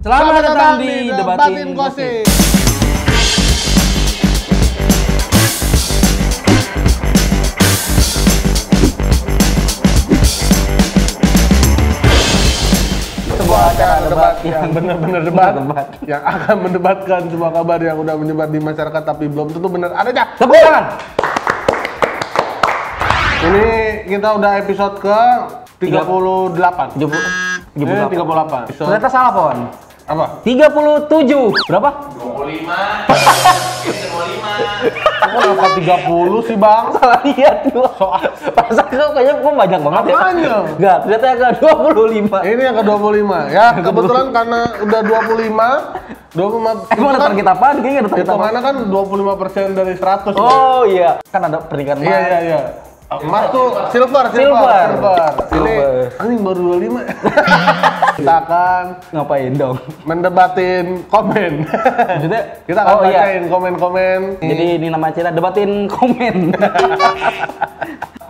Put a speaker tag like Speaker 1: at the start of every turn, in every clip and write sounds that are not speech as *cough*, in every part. Speaker 1: Selamat datang di Debatin Gosip.
Speaker 2: Sebuah acara debat yang
Speaker 1: *laughs* benar-benar
Speaker 2: debat, yang akan mendebatkan sebuah kabar yang udah menyebar di masyarakat tapi belum tentu benar adanya.
Speaker 1: Tepuk tangan.
Speaker 2: Ini kita udah episode ke 38.
Speaker 1: Jumbo- jumbo
Speaker 2: Eh,
Speaker 1: berapa?
Speaker 2: 38. Episode
Speaker 1: Ternyata salah pon.
Speaker 2: apa?
Speaker 1: 37. Berapa?
Speaker 2: 35. Kok angka 30 sih, Bang?
Speaker 1: Salah lihat gua. Masa kau kayaknya gua banyak banget ya.
Speaker 2: Apanya?
Speaker 1: Enggak, ternyata yang ke-25.
Speaker 2: Ini yang ke-25 ya. Kebetulan karena udah 25 25
Speaker 1: Eh, gua ada
Speaker 2: kan
Speaker 1: target apaan? Kayaknya ada target apaan.
Speaker 2: hitungannya kan 25% dari 100.
Speaker 1: Oh iya, kan ada pernikahan
Speaker 2: Iya
Speaker 1: emas.
Speaker 2: iya iya. Emas tuh silver,
Speaker 1: Silver.
Speaker 2: silver, silver. Ini
Speaker 1: Silver.
Speaker 2: anjing baru 25. *laughs* Kita akan
Speaker 1: Ngapain dong?
Speaker 2: mendebatin komen. *laughs*
Speaker 1: Maksudnya
Speaker 2: Kita akan
Speaker 1: oh, iya.
Speaker 2: bacain komen-komen.
Speaker 1: Jadi ini nama acara debatin *laughs* komen.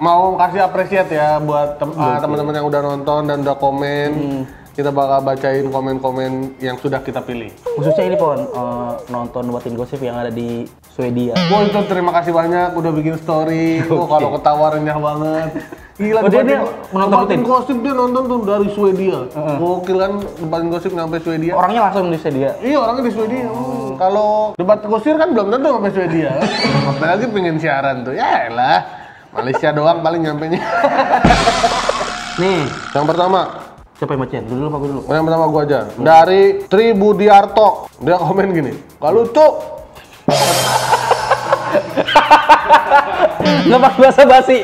Speaker 2: Mau kasih apresiat ya buat tem-
Speaker 1: Iya,
Speaker 2: ah, teman-teman yang udah nonton dan udah komen.
Speaker 1: Hmm.
Speaker 2: Kita bakal bacain komen-komen yang sudah kita pilih.
Speaker 1: Khususnya ini pon eh, nonton debatin gosip yang ada di Swedia.
Speaker 2: Gua itu terima kasih banyak udah bikin story. Gua kalau ketawa renyah banget. Gila,
Speaker 1: Oh, dia-
Speaker 2: debatin-
Speaker 1: dia menonton
Speaker 2: debatin
Speaker 1: rutin?
Speaker 2: gosip dia nonton tuh dari Swedia. Gokil kan debatin gosip nyampe Swedia.
Speaker 1: Orangnya langsung di Swedia.
Speaker 2: Iya orangnya di Swedia.
Speaker 1: Oh.
Speaker 2: Hmm. Kalau debat kusir kan belum tentu sampai
Speaker 1: *laughs*
Speaker 2: Swedia. Apalagi pengen siaran tuh. Ya elah. Malaysia doang paling nyampe
Speaker 1: Nih,
Speaker 2: *laughs* Yang pertama,
Speaker 1: siapa yang bacain? Lu dulu apa gua dulu?
Speaker 2: yang pertama gua aja. Dari Tri Budiarto. Dia komen gini. Kalau tuh
Speaker 1: *laughs* Lepas bahasa basi.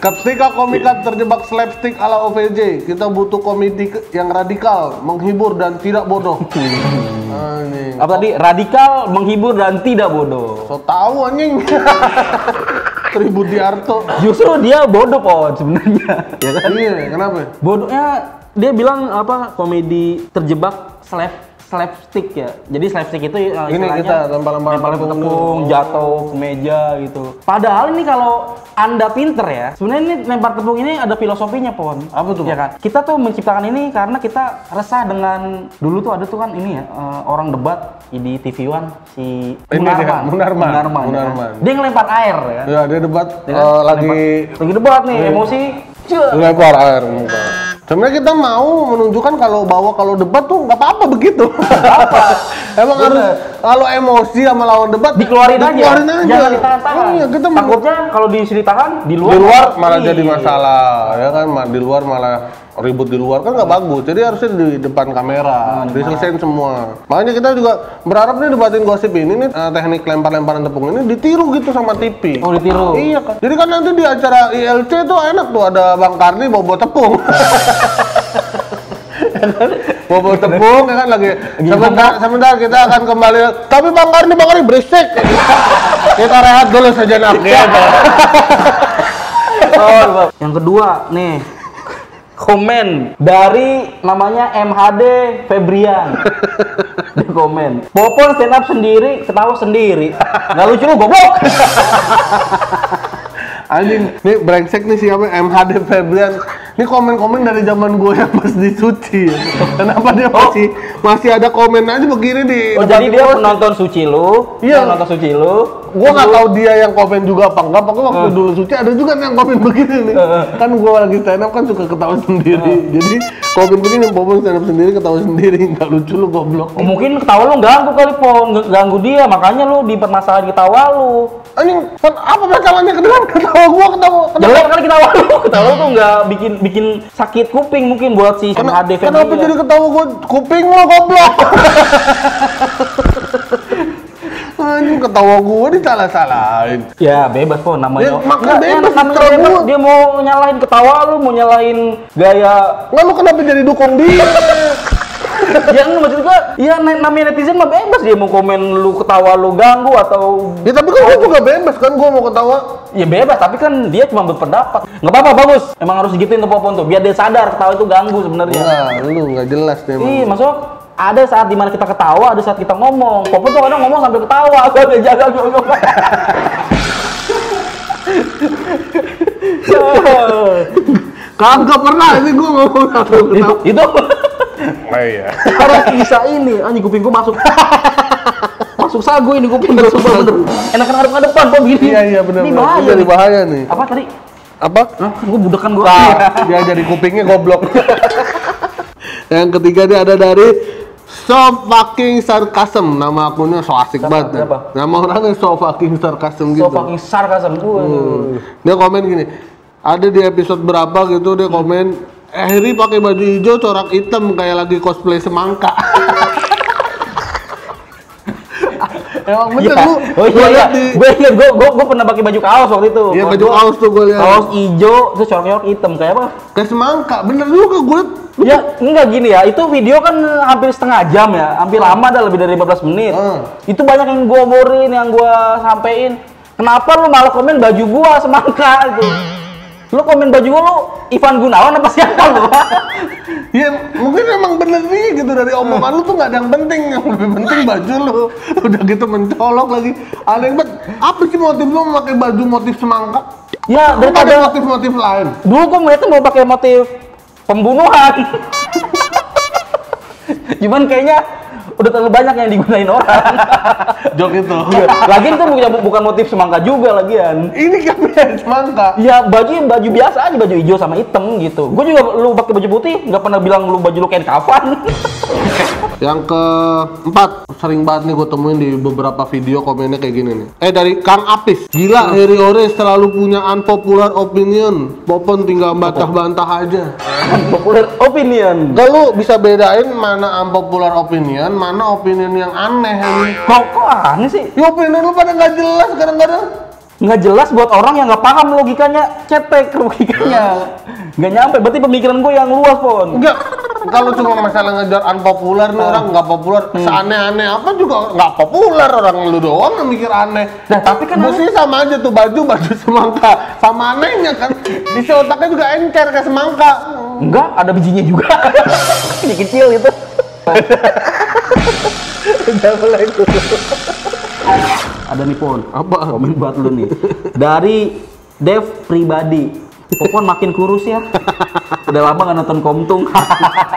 Speaker 2: ketika komika terjebak slapstick ala OVJ, kita butuh komedi ke- yang radikal, menghibur dan tidak
Speaker 1: *laughs*
Speaker 2: bodoh. Anjing.
Speaker 1: Apa tadi? Radikal, menghibur dan tidak bodoh.
Speaker 2: So tahu anjing. *laughs* Tri Budiarto.
Speaker 1: Justru dia bodoh pon sebenarnya. Ya kan?
Speaker 2: Iya, kenapa?
Speaker 1: Bodohnya dia bilang apa? Komedi terjebak slap slapstick ya. Jadi slapstick itu eh,
Speaker 2: Ini
Speaker 1: istilahnya
Speaker 2: kita lempar-lempar
Speaker 1: lemparin
Speaker 2: tepung.
Speaker 1: tepung, jatuh ke meja gitu. Padahal ini kalau Anda pinter ya, sebenarnya ini lempar tepung ini ada filosofinya pon.
Speaker 2: Apa tuh,
Speaker 1: Ya kan? Kita tuh menciptakan ini karena kita resah dengan dulu tuh ada tuh kan ini ya eh, orang debat di TV One si
Speaker 2: Ini dia, Munarman.
Speaker 1: Munarman, ya kan?
Speaker 2: Munarman.
Speaker 1: Dia ngelempar air ya. kan?
Speaker 2: Ya, dia debat
Speaker 1: Ya
Speaker 2: eh,
Speaker 1: kan?
Speaker 2: lagi
Speaker 1: Lempar- lagi debat nih, emosi. Cek.
Speaker 2: lempar air muka. Sebenarnya kita mau menunjukkan kalau bahwa kalau debat tuh nggak apa-apa
Speaker 1: *laughs*
Speaker 2: begitu. apa? Emang harus kalau emosi sama lawan debat
Speaker 1: dikeluarin,
Speaker 2: dikeluarin
Speaker 1: aja.
Speaker 2: aja.
Speaker 1: Jangan ditahan-tahan.
Speaker 2: Iya, kita mau-
Speaker 1: Takutnya kalau di sini ditahan di luar,
Speaker 2: di luar malah
Speaker 1: Iya.
Speaker 2: jadi masalah, ya kan? Ma- Di luar malah ribut di luar kan nggak bagus. Jadi harusnya di depan
Speaker 1: Ah,
Speaker 2: kamera, diselesain semua. Makanya kita juga berharap nih debatin gosip ini nih eh, teknik lempar-lemparan tepung ini ditiru gitu sama TV.
Speaker 1: Oh ditiru.
Speaker 2: Iya kan. Jadi kan nanti di acara ILC tuh enak tuh ada Bang Karni bawa bawa tepung. *laughs* Ya kan? bawa bawa tepung ya kan lagi sebentar sebentar kita akan kembali tapi Bang Karni Bang Karni
Speaker 1: *laughs*
Speaker 2: berisik kita rehat dulu saja nak ya
Speaker 1: Oh, lupa. Yang kedua nih komen dari namanya MHD Febrian. Dia komen. Popon stand up sendiri, ketawa sendiri. Nggak lucu lu
Speaker 2: *laughs*
Speaker 1: goblok.
Speaker 2: anjing ini brengsek nih siapa MHD Febrian ini komen-komen dari zaman gue yang pas disuci kenapa dia masih masih ada komen aja begini di
Speaker 1: Oh,
Speaker 2: depan
Speaker 1: jadi dia penonton suci lu.
Speaker 2: Iya.
Speaker 1: Penonton suci lu.
Speaker 2: gue nggak tahu dia yang komen juga apa enggak pokoknya
Speaker 1: Eh.
Speaker 2: waktu dulu suci ada juga yang komen begini nih kan gue lagi stand up kan suka ketawa sendiri
Speaker 1: Eh.
Speaker 2: jadi komen begini bobon stand up sendiri ketawa sendiri nggak lucu lu goblok
Speaker 1: Oh, mungkin ketawa lu ganggu kali pon, ganggu dia, makanya lu dipermasalahin ketawa lu.
Speaker 2: anjing kan apa masalahnya ke dalam ketawa gue ketawa ketawa
Speaker 1: Jelek kali ketawa lu, *laughs* ketawa lu tuh nggak bikin bikin sakit kuping mungkin buat si
Speaker 2: Kena-
Speaker 1: MHD Febrian.
Speaker 2: kenapa jadi ketawa gue kuping lo goblok anjing ketawa gue disalah-salahin
Speaker 1: Ya bebas kok
Speaker 2: Ya,
Speaker 1: namanya.
Speaker 2: makan
Speaker 1: Nggak,
Speaker 2: bebas,
Speaker 1: namanya
Speaker 2: terlalu
Speaker 1: bebas.
Speaker 2: buat.
Speaker 1: Dia mau nyalahin ketawa lu, mau nyalahin
Speaker 2: *laughs*
Speaker 1: gaya.
Speaker 2: Nggak lu kenapa jadi dukung dia?
Speaker 1: ya nggak, maksud gua, ya na- namanya netizen mah bebas dia mau komen lu ketawa lu ganggu atau
Speaker 2: ya tapi kan gue juga bebas kan gue mau ketawa
Speaker 1: ya bebas tapi kan dia cuma berpendapat nggak apa-apa bagus emang harus gituin tuh popon tuh biar dia sadar ketawa itu ganggu sebenarnya
Speaker 2: Enggak, Ya, lu nggak jelas deh. emang.
Speaker 1: Ih, masuk ada saat dimana kita ketawa, ada saat kita ngomong. Popon tuh kadang ngomong sambil ketawa, *laughs* gua udah jaga gua
Speaker 2: *laughs*
Speaker 1: ngomong.
Speaker 2: Kagak pernah sih gua ngomong satu
Speaker 1: itu, itu
Speaker 2: Nah, iya.
Speaker 1: Karena bisa ini, anjing kuping gua
Speaker 2: *laughs*
Speaker 1: masuk. masuk sagu ini kuping gua sumpah bener. Enakan ngadep ke depan kan, kok begini.
Speaker 2: Iya iya benar
Speaker 1: Ini
Speaker 2: benar.
Speaker 1: bahaya.
Speaker 2: Ini Jadi
Speaker 1: nih.
Speaker 2: bahaya nih.
Speaker 1: Apa tadi?
Speaker 2: Apa?
Speaker 1: Hah, gua budekan gua. Iya.
Speaker 2: Ah, dia jadi kupingnya goblok. *laughs* Yang ketiga dia ada dari So fucking sarcasm nama akunnya so asik
Speaker 1: Siapa?
Speaker 2: banget.
Speaker 1: Siapa?
Speaker 2: Nama orangnya so fucking sarcasm
Speaker 1: So
Speaker 2: gitu.
Speaker 1: fucking sarcasm gua.
Speaker 2: Hmm. Dia komen gini, ada di episode berapa gitu dia komen, eh Heri pakai baju hijau corak hitam kayak lagi cosplay semangka. *laughs* Emang bener
Speaker 1: Iya.
Speaker 2: lu,
Speaker 1: Oh
Speaker 2: gua
Speaker 1: iya, iya.
Speaker 2: liat di,
Speaker 1: Gue inget, gue, gue, gue pernah pakai baju kaos waktu itu.
Speaker 2: iya
Speaker 1: Kaos
Speaker 2: baju
Speaker 1: gua-
Speaker 2: aus tuh gue liat.
Speaker 1: Kaos hijau, terus corak-corak hitam. Kayak apa?
Speaker 2: Kayak semangka, bener juga gue liat.
Speaker 1: Ya, enggak gini ya. Itu video kan hampir setengah jam ya. Hampir lama dah, lebih dari 15 menit.
Speaker 2: Hmm.
Speaker 1: Itu banyak yang gue omorin, yang gue sampein. Kenapa lu malah komen baju gua semangka itu? Lu komen baju gua lu Ivan Gunawan apa siapa lu? *laughs*
Speaker 2: Iya, mungkin emang bener nih gitu dari omongan lu tuh nggak ada yang penting, yang lebih penting baju lu. *laughs* Udah gitu mencolok lagi. Ada yang bet, apa sih motif lu memakai baju motif semangka?
Speaker 1: ya,
Speaker 2: Lu ada
Speaker 1: daripada
Speaker 2: motif-motif lain.
Speaker 1: dulu gua melihatnya mau pakai motif pembunuhan. *laughs* Cuman kayaknya udah terlalu banyak yang digunain orang. *laughs*
Speaker 2: Jok *laughs* itu.
Speaker 1: Iya. Lagian itu bukan, bukan motif semangka juga lagian.
Speaker 2: Ini kan *laughs* semangka.
Speaker 1: Ya baju baju biasa aja baju hijau sama hitam gitu. Gue juga lu pakai baju putih nggak pernah bilang lu baju lu kain kafan.
Speaker 2: Yang keempat, sering banget nih gue temuin di beberapa video komennya kayak gini nih. Eh dari Kang Apis, gila Heri Ore selalu punya unpopular opinion. Popon tinggal bantah-bantah aja.
Speaker 1: Popular opinion.
Speaker 2: Gak lu bisa bedain mana unpopular opinion, mana opinion yang aneh ini.
Speaker 1: Kok kok aneh sih?
Speaker 2: Ya opinion lu pada nggak jelas kadang-kadang.
Speaker 1: Nggak jelas buat orang yang nggak paham logikanya cetek logikanya. Nggak nyampe. Berarti pemikiran gue yang luas pon.
Speaker 2: Enggak. Kalau cuma masalah ngejar unpopular nih orang nggak populer,
Speaker 1: Hmm.
Speaker 2: seaneh-aneh apa juga nggak populer orang lu doang yang mikir aneh.
Speaker 1: Nah, tapi kan
Speaker 2: Mesti sama aja tuh baju baju semangka, sama anehnya kan. Di otaknya juga encer kayak semangka.
Speaker 1: Enggak, ada bijinya juga. *laughs* Ini kecil gitu. itu. ada nih pon.
Speaker 2: Apa?
Speaker 1: Komen buat lu nih. Dari Dev pribadi. Popon makin kurus ya. Udah lama gak nonton Komtung.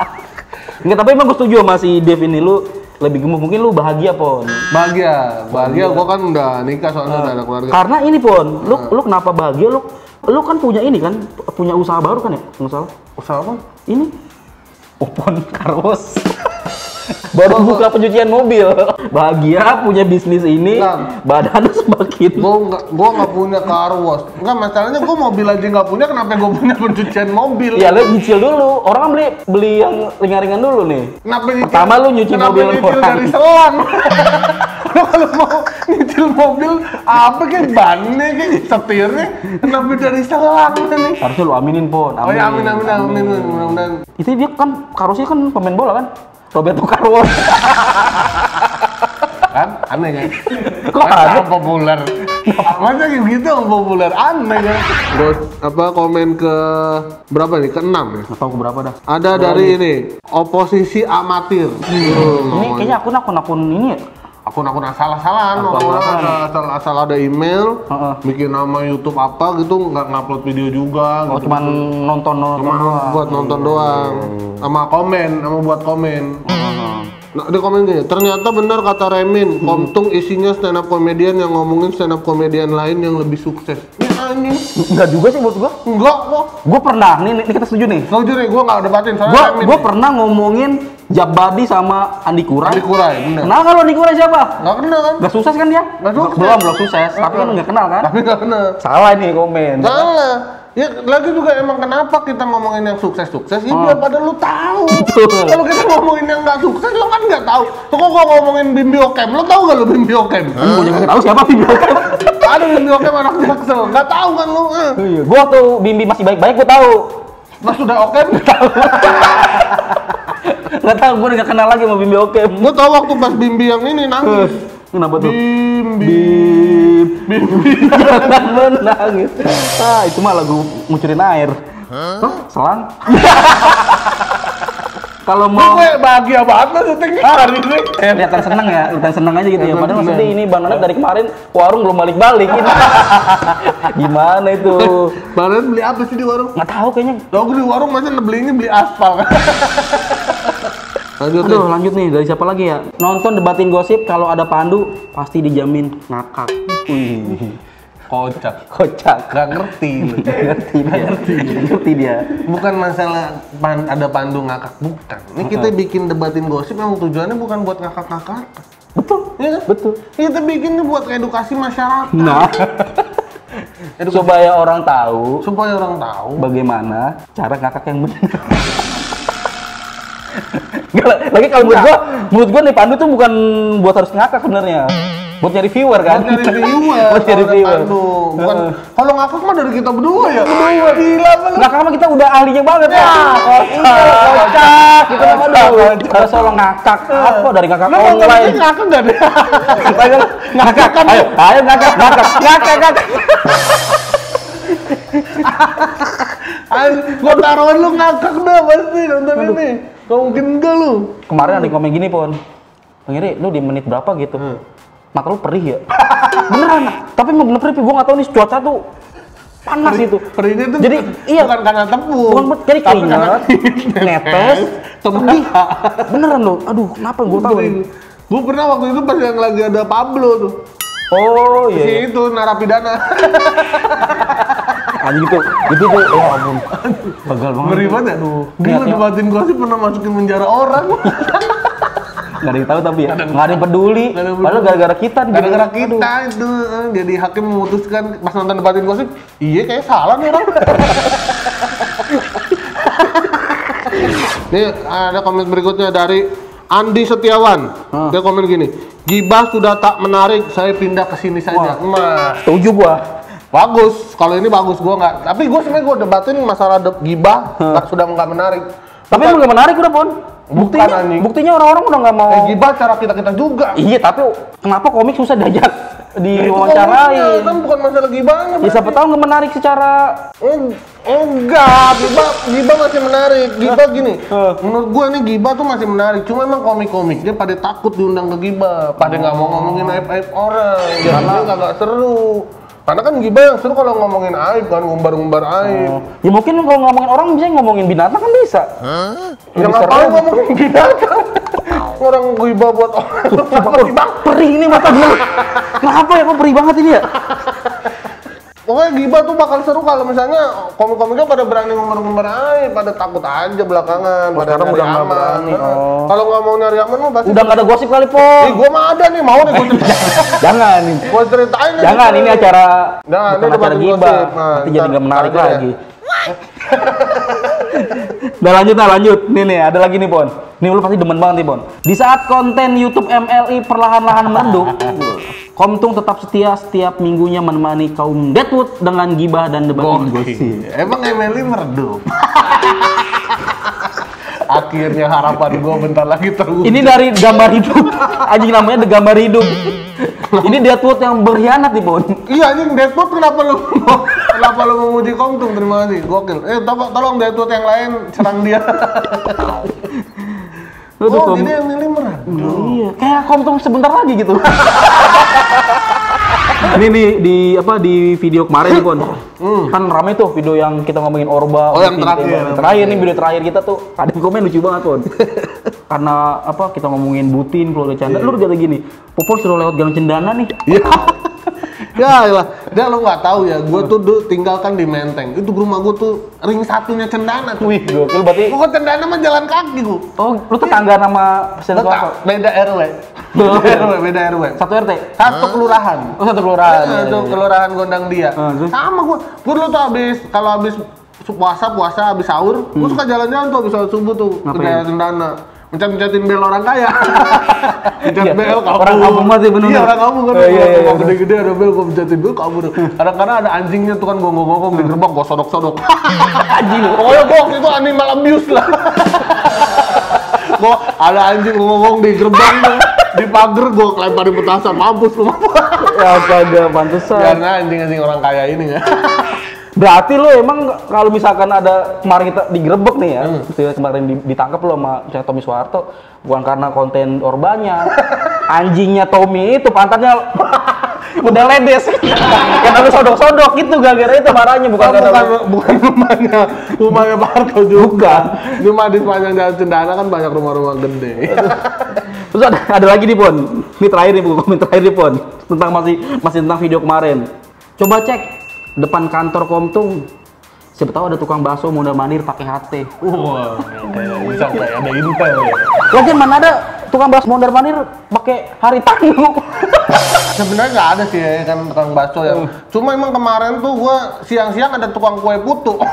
Speaker 1: *laughs* Enggak, tapi emang gue setuju sama si Dev ini lu lebih gemuk. Mungkin lu bahagia, Pon.
Speaker 2: Bahagia, bahagia. Gua kan udah nikah soalnya
Speaker 1: Ah.
Speaker 2: udah ada keluarga.
Speaker 1: Karena ini, Pon. Lu lu kenapa bahagia? Lu lu kan punya ini kan, punya usaha baru kan ya? Nggak salah.
Speaker 2: Usaha apa?
Speaker 1: Ini Popon Karos. Baru buka pencucian mobil. Bahagia punya bisnis ini,
Speaker 2: Nah.
Speaker 1: badan *laughs* semakin
Speaker 2: Gua nggak, gua nggak punya car wash. Enggak masalahnya gua mobil aja nggak punya. Kenapa gua punya pencucian mobil?
Speaker 1: Ya lu nyicil dulu. Orang kan beli beli yang ringan-ringan dulu nih.
Speaker 2: Kenapa nyicil?
Speaker 1: Pertama lu nyuci
Speaker 2: Kenapa
Speaker 1: mobil
Speaker 2: nyicil
Speaker 1: orang.
Speaker 2: dari selang? *laughs* lu kalau mau nyicil mobil apa kayak bannya kayak setirnya kenapa dari selang nih?
Speaker 1: Harusnya lu aminin, Pon.
Speaker 2: Oh ya amin amin amin amin mudah-mudahan.
Speaker 1: Itu dia kan karosnya kan pemain bola kan? Roberto *laughs* Carlos.
Speaker 2: Kan aneh kan?
Speaker 1: Kok aneh?
Speaker 2: populer? Masa kayak gitu orang populer aneh kan? Terus apa komen ke berapa nih? Ke enam ya?
Speaker 1: Enggak tahu berapa dah.
Speaker 2: Ada dari ini oposisi amatir. Hmm.
Speaker 1: Ini kayaknya akun akun akun ini ya.
Speaker 2: akun-akun asal-asalan
Speaker 1: Akun-akun
Speaker 2: orang-orang
Speaker 1: asal.
Speaker 2: asal asal ada email
Speaker 1: Heeh.
Speaker 2: bikin nama YouTube apa gitu nggak ngupload video juga
Speaker 1: Oh,
Speaker 2: gitu.
Speaker 1: cuman nonton nonton
Speaker 2: Cuma
Speaker 1: doang. Hmm.
Speaker 2: buat nonton doang sama komen sama buat komen
Speaker 1: Hmm.
Speaker 2: Nah, dia komen gini, ternyata benar kata Remin, Komtung isinya stand up comedian yang ngomongin stand up comedian lain yang lebih sukses. Ya anjing,
Speaker 1: Enggak juga sih buat gua.
Speaker 2: enggak kok.
Speaker 1: Gua pernah, nih, nih kita setuju nih.
Speaker 2: Jujur ya, gue nggak debatin soalnya
Speaker 1: gua
Speaker 2: Remin.
Speaker 1: gua pernah ngomongin Jabadi sama Andi Kurai.
Speaker 2: Andi Kurai, bener.
Speaker 1: Kenal kan lu Andi Kurai siapa?
Speaker 2: Nggak kena kan?
Speaker 1: Gak sukses kan dia?
Speaker 2: Nggak sukses.
Speaker 1: Belum, belum sukses. Tapi kan gak kenal kan?
Speaker 2: Tapi nggak kena.
Speaker 1: Salah ini komen.
Speaker 2: Salah. Ya lagi juga emang kenapa kita ngomongin yang sukses-sukses? Ya biar pada lu tahu.
Speaker 1: Oh. Betul.
Speaker 2: Kalau kita ngomongin yang nggak sukses, lo kan nggak tahu. Tuh kok gua ngomongin Bimbi Okem, lo tahu nggak lo Bimbi Okem?
Speaker 1: Gua juga nggak tahu siapa Bimbi Okem. *laughs*
Speaker 2: Ada Bimbi Okem anak jaksel, nggak tahu kan lo? Eh,
Speaker 1: Iya, Gua waktu Bimbi masih baik-baik gua tahu.
Speaker 2: Pas sudah Okem,
Speaker 1: Gak tahu gua udah gak kenal lagi sama Bimbi Okem.
Speaker 2: gua tahu waktu pas Bimbi yang ini nangis.
Speaker 1: Kenapa tuh?
Speaker 2: Bimbi.
Speaker 1: Bim, jangan menangis. Ah, itu mah lagu ngucurin air. Hah? Selang. Kalau mau
Speaker 2: Gue bahagia banget lo syuting Eh, hari ini.
Speaker 1: kelihatan seneng ya, kelihatan seneng aja gitu ya. Padahal
Speaker 2: Kelihatan
Speaker 1: maksudnya ini Bang Nanak dari kemarin ke warung belum balik-balik. Ini. Gimana itu?
Speaker 2: Barusan beli apa sih di warung?
Speaker 1: Nggak tahu kayaknya.
Speaker 2: Lo gue di warung masa belinya beli aspal kan? *laughs* Lanjut nih.
Speaker 1: Aduh, lanjut nih dari siapa lagi ya? Nonton debatin gosip kalau ada Pandu pasti dijamin ngakak.
Speaker 2: Wih, kocak.
Speaker 1: Kocak.
Speaker 2: Gak ngerti. lu.
Speaker 1: Ngerti dia. Ngerti dia.
Speaker 2: bukan masalah pan- ada pandu ngakak, bukan. Ini kita bikin debatin gosip yang tujuannya bukan buat ngakak-ngakak.
Speaker 1: Betul.
Speaker 2: Iya kan?
Speaker 1: Betul.
Speaker 2: Kita bikinnya buat edukasi masyarakat.
Speaker 1: Nah,
Speaker 2: Edukasi
Speaker 1: supaya orang tahu
Speaker 2: supaya orang tahu.
Speaker 1: bagaimana cara ngakak yang benar. Nggak, lagi kalau menurut gua, menurut gua nih Pandu tuh bukan buat harus ngakak sebenarnya. Buat nyari viewer kan?
Speaker 2: Buat nyari viewer,
Speaker 1: buat nyari
Speaker 2: kalau ada
Speaker 1: viewer.
Speaker 2: pandu. Bukan,
Speaker 1: Heeh. Nah,
Speaker 2: kalau ngakak mah dari kita berdua ya. Berdua gila banget.
Speaker 1: Ngakak mah kita udah ahlinya banget ya. Kocak,
Speaker 2: Iya,
Speaker 1: Gitu, kocak. Kita mah udah udah soal ngakak. Apa dari ngakak
Speaker 2: Lu nonton ini
Speaker 1: online?
Speaker 2: Nah, ngakak gak
Speaker 1: *laughs*
Speaker 2: deh?
Speaker 1: Ayo, ngakak kan? Ayo, ayo ngakak, ngakak, ngakak, ngakak.
Speaker 2: Ayo, gua taruhan lu ngakak dah pasti nonton ini. Kau mungkin enggak lu.
Speaker 1: Kemarin ada yang komen gini pon, Bang Iri, lu di menit berapa gitu? Mata lu perih ya? Beneran, tapi emang bener perih, gue gak tau nih cuaca tuh panas itu.
Speaker 2: Perihnya tuh
Speaker 1: Jadi, iya.
Speaker 2: bukan karena tepung.
Speaker 1: Bukan buat jadi
Speaker 2: tapi karena
Speaker 1: keringat, *laughs* netes, Iya. perih. Beneran loh, aduh kenapa gue tau nih?
Speaker 2: Gue pernah waktu itu pas yang lagi ada Pablo tuh.
Speaker 1: Oh iya, iya.
Speaker 2: Si itu narapidana.
Speaker 1: anjing itu, itu tuh, ya ampun. Bagal banget.
Speaker 2: Ngeri banget ya. Aduh. Gila
Speaker 1: Niatnya-
Speaker 2: debatin gua sih pernah masukin penjara orang.
Speaker 1: Gak ada yang tahu tapi ya, gak ada yang peduli.
Speaker 2: Nggak ada yang
Speaker 1: Padahal gara-gara kita. nih,
Speaker 2: Gara-gara
Speaker 1: jadi-
Speaker 2: kita itu eh, jadi hakim memutuskan pas nonton debatin gosip, iya kayak salah nih orang. Nih ada komen berikutnya dari Andi Setiawan.
Speaker 1: Hah.
Speaker 2: Dia komen gini, Gibah sudah tak menarik, saya pindah ke sini saja. Mah.
Speaker 1: Setuju gua.
Speaker 2: Bagus, kalau ini bagus gua nggak. Tapi gua sebenarnya gua debatin masalah de- gibah nggak- sudah nggak menarik.
Speaker 1: Tapi emang gak menarik udah pon. Buktinya,
Speaker 2: anjing.
Speaker 1: buktinya orang-orang udah gak mau.
Speaker 2: Eh, gibah cara kita kita juga.
Speaker 1: Iya, tapi kenapa komik susah diajak
Speaker 2: Itu ngomongnya,
Speaker 1: diwawancarain?
Speaker 2: kan bukan masalah gibahnya
Speaker 1: Ya siapa tahu nggak menarik secara
Speaker 2: Eng- Oh, enggak gibah gibah masih menarik gibah gini menurut gua nih gibah tuh masih menarik cuma emang komik-komik dia pada takut diundang ke gibah pada nggak mau ngomongin aib aib orang jadinya kagak seru karena kan gibah yang seru kalau ngomongin aib kan ngumbar-ngumbar aib
Speaker 1: Ya mungkin kalau ngomongin orang bisa ngomongin binatang kan bisa.
Speaker 2: yang
Speaker 1: Lebih
Speaker 2: ngapain
Speaker 1: seru.
Speaker 2: ngomongin
Speaker 1: *laughs*
Speaker 2: binatang orang gibah buat orang
Speaker 1: Wah, perih ini mata gue. *laughs* Kenapa ya kok perih banget ini ya?
Speaker 2: Pokoknya gibah tuh bakal seru kalau misalnya komik-komiknya pada berani ngomong-ngomong aib, pada takut aja belakangan, pada
Speaker 1: sekarang Oh,
Speaker 2: nyari
Speaker 1: udah nggak
Speaker 2: aman.
Speaker 1: berani,
Speaker 2: Nah,
Speaker 1: oh.
Speaker 2: Kalau nggak mau nyari aman mah pasti.
Speaker 1: Udah nggak ada gosip kali,
Speaker 2: Ih,
Speaker 1: Pon.
Speaker 2: gua mah ada nih, mau
Speaker 1: *laughs*
Speaker 2: nih gua ceritain.
Speaker 1: Jangan. ini.
Speaker 2: gua ceritain nih.
Speaker 1: Jangan, ini acara
Speaker 2: Jangan,
Speaker 1: bukan acara
Speaker 2: ini debatin
Speaker 1: gibah.
Speaker 2: gosip. Nah,
Speaker 1: Nanti jadi
Speaker 2: ntar-
Speaker 1: nggak menarik
Speaker 2: ntar aja
Speaker 1: lagi.
Speaker 2: ya.
Speaker 1: Udah lanjut nah lanjut. Nih nih ada lagi nih Pon. Nih lu pasti demen banget nih Pon. Di saat konten YouTube MLI perlahan-lahan meredup, Komtung tetap setia setiap minggunya menemani kaum Deadwood dengan gibah dan debat gosip.
Speaker 2: Gokil. Emang Emily meredup. *laughs* Akhirnya harapan gua bentar lagi terwujud.
Speaker 1: Ini dari gambar hidup. *laughs* Anjing namanya The Gambar Hidup. Ini Deadwood yang berkhianat nih, Bon.
Speaker 2: Iya anjing Deadpool kenapa lu kenapa lu memuji Komtung terima kasih gokil. Eh tolong tolong Deadpool yang lain serang dia. *laughs*
Speaker 1: Lu tuh
Speaker 2: oh
Speaker 1: kom-
Speaker 2: jadi Emily meredup.
Speaker 1: Iya, kayak komtung sebentar lagi gitu. *laughs* Ini nih di apa di video kemarin nih, Bon. Kan rame tuh video yang kita ngomongin Orba.
Speaker 2: Oh, yang
Speaker 1: Orba, Orba.
Speaker 2: terakhir.
Speaker 1: Terakhir nih video terakhir kita tuh ada yang komen lucu banget, *laughs* Bon. Karena apa kita ngomongin Butin keluarga Canda, lu kata gini, Popor sudah lewat Gang Cendana nih.
Speaker 2: Iya. *laughs* ya lah, dia lo nggak tahu ya, gue tuh dulu tinggalkan di Menteng. Itu rumah gue tuh ring satunya Cendana tuh.
Speaker 1: Wih, gokil berarti.
Speaker 2: Gue Cendana mah jalan kaki gue.
Speaker 1: Oh, lu tetangga nama Presiden
Speaker 2: Tetap
Speaker 1: Soeharto?
Speaker 2: beda RW.
Speaker 1: Oh.
Speaker 2: Beda RW, beda RW.
Speaker 1: Satu RT?
Speaker 2: Satu kelurahan.
Speaker 1: Oh satu kelurahan.
Speaker 2: Nah, itu kelurahan Gondang Dia.
Speaker 1: Ah, terus?
Speaker 2: Sama gue. Gue dulu tuh habis kalau habis su- puasa puasa habis sahur, gue suka jalan-jalan tuh habis sholat subuh tuh
Speaker 1: Hmm.
Speaker 2: ke
Speaker 1: Ngapain?
Speaker 2: daerah Cendana. Mencet-mencetin bel orang
Speaker 1: *laughs*
Speaker 2: kaya. Mencet
Speaker 1: Iya,
Speaker 2: bel kampung.
Speaker 1: orang kampung banget ya, bener.
Speaker 2: Iya, orang kampung kan.
Speaker 1: Eh, iya, iya,
Speaker 2: Kalau
Speaker 1: iya.
Speaker 2: gede-gede ada bel gue mencetin bel kabur. Kadang-kadang ada anjingnya tuh kan gonggong-gonggong
Speaker 1: Hmm.
Speaker 2: di gerbang gue sodok-sodok.
Speaker 1: *laughs*
Speaker 2: *laughs*
Speaker 1: Anjing lu.
Speaker 2: Pokoknya gue waktu itu animal abuse lah. *laughs* gue ada anjing ngomong di gerbang tuh, di pagar gue kelemparin petasan mampus lu mampus.
Speaker 1: Ya apa ada pantesan.
Speaker 2: Karena anjing-anjing orang kaya ini *laughs* ya.
Speaker 1: Berarti lu emang kalau misalkan ada kemarin kita digerebek nih ya,
Speaker 2: Hmm.
Speaker 1: maksudnya kemarin di- ditangkap lu sama misalnya Tommy Soeharto
Speaker 2: *laughs*
Speaker 1: bukan karena konten orbanya. Anjingnya Tommy itu pantatnya *laughs* udah ledes *laughs* karena lu sodok-sodok gitu gara-gara itu marahnya bukan
Speaker 2: Bukan,
Speaker 1: karena
Speaker 2: bukan,
Speaker 1: lu-
Speaker 2: *laughs* bukan rumahnya, rumahnya Parto juga. Cuma di sepanjang jalan Cendana kan banyak rumah-rumah gede.
Speaker 1: Terus ada, ada lagi nih Pon. Ini terakhir nih Bu, komen terakhir nih Pon. Tentang masih masih tentang video kemarin. Coba cek depan kantor Komtung. Siapa tahu ada tukang bakso mondar mandir pakai HT.
Speaker 2: *laughs* Wah, bisa kayak ada intel ya.
Speaker 1: Lagian mana ada tukang bakso mondar mandir pakai hari tanu.
Speaker 2: Sebenarnya nggak ada sih ya, kan tukang bakso ya. Cuma emang kemarin tuh gua siang-siang ada tukang kue putu. *laughs*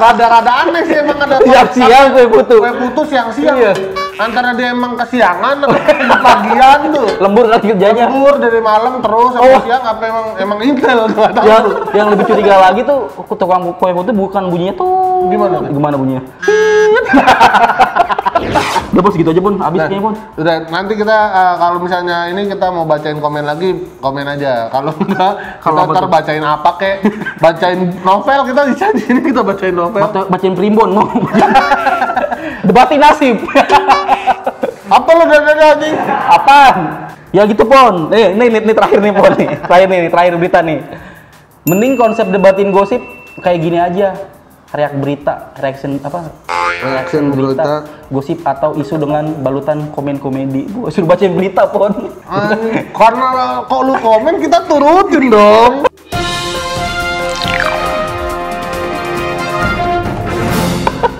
Speaker 2: Rada-rada aneh sih emang ada
Speaker 1: Siang-siang gue butuh.
Speaker 2: kue putu siang-siang.
Speaker 1: Iya.
Speaker 2: Antara dia emang kesiangan *laughs* atau pagian tuh.
Speaker 1: *laughs* Lembur lagi kerjanya.
Speaker 2: Lembur dari malam terus
Speaker 1: Oh.
Speaker 2: sampai siang apa emang emang intel nggak tahu.
Speaker 1: Yang, Ya, yang lebih curiga lagi tuh tukang kue itu bukan bunyinya tuh.
Speaker 2: Gimana?
Speaker 1: Gimana bunyinya? *laughs* Udah bos gitu aja Pon, habis
Speaker 2: Nah,
Speaker 1: kayaknya Pon.
Speaker 2: udah nanti kita eh, kalau misalnya ini kita mau bacain komen lagi komen aja kalau enggak
Speaker 1: Kalau apa
Speaker 2: kalau kita ntar
Speaker 1: tuh?
Speaker 2: bacain apa kek bacain novel kita bisa di sini kita bacain novel
Speaker 1: Baca, bacain primbon
Speaker 2: *laughs*
Speaker 1: mau. Debatin nasib.
Speaker 2: apa lo dada anjing
Speaker 1: Apaan? Ya gitu Pon. Eh, ini, ini, ini terakhir nih Pon nih. Terakhir nih, terakhir berita nih. Mending konsep debatin gosip kayak gini aja. Reak berita, reaction apa?
Speaker 2: reaction
Speaker 1: Berita, gosip atau isu dengan balutan komen komedi. Gua suruh bacain berita Pon.
Speaker 2: *laughs* karena kok lu komen kita turutin dong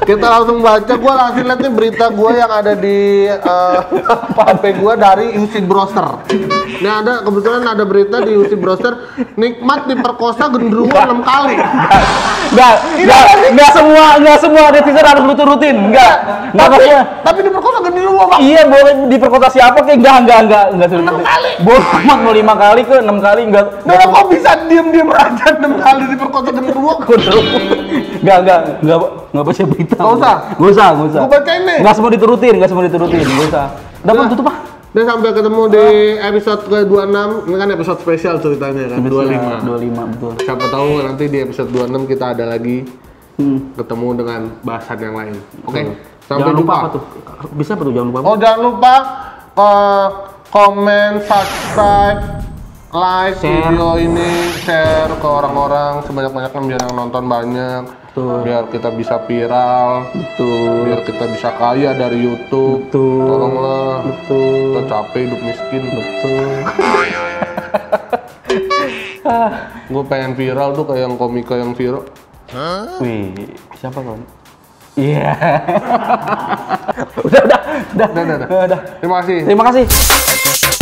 Speaker 2: kita langsung baca gua langsung lihat nih berita gua yang ada di eh, *laughs* HP gua dari UC Browser ini ada kebetulan ada berita di UC Browser nikmat diperkosa genderuwo enam kali
Speaker 1: Enggak, enggak, enggak semua, enggak semua netizen harus lu turutin. Enggak. Enggak
Speaker 2: tapi
Speaker 1: maksudnya.
Speaker 2: tapi diperkosa genderuwo Bang.
Speaker 1: Iya boleh diperkosa siapa kayak enggak enggak enggak enggak suruh.
Speaker 2: Enam kali.
Speaker 1: Boleh *laughs* cuma mau lima kali ke enam kali enggak. *laughs*
Speaker 2: Nah, kok bisa diem-diem aja enam kali diperkosa genderuwo
Speaker 1: Enggak, enggak, enggak, enggak baca berita.
Speaker 2: Nggak usah?
Speaker 1: Enggak usah, enggak usah.
Speaker 2: Gua bacain nih.
Speaker 1: Enggak semua diturutin, enggak semua diturutin, enggak usah. Udah Bang, tutup ah.
Speaker 2: Dan sampai ketemu di episode ke-26 Ini kan episode spesial ceritanya kan 25
Speaker 1: 25 betul.
Speaker 2: Siapa tahu nanti di episode 26 kita ada lagi
Speaker 1: Hmm.
Speaker 2: Ketemu dengan bahasan yang lain Oke Sampai
Speaker 1: Jangan lupa
Speaker 2: lupa,
Speaker 1: apa tuh? Bisa apa tuh jangan lupa? apa?
Speaker 2: Oh jangan lupa eh, Komen, subscribe Like
Speaker 1: Share.
Speaker 2: video ini Share ke orang-orang Sebanyak-banyaknya biar yang nonton banyak
Speaker 1: Betul.
Speaker 2: Biar kita bisa viral
Speaker 1: Betul.
Speaker 2: Biar kita bisa kaya dari Youtube
Speaker 1: Betul.
Speaker 2: Tolonglah
Speaker 1: Betul.
Speaker 2: Kita capek hidup miskin *laughs*
Speaker 1: Betul.
Speaker 2: Gue pengen viral tuh kayak yang komika yang viral.
Speaker 1: Wih, siapa kan? Iya. *laughs* udah, udah, udah.
Speaker 2: Udah, udah, udah.
Speaker 1: udah.
Speaker 2: Terima kasih.
Speaker 1: Terima kasih.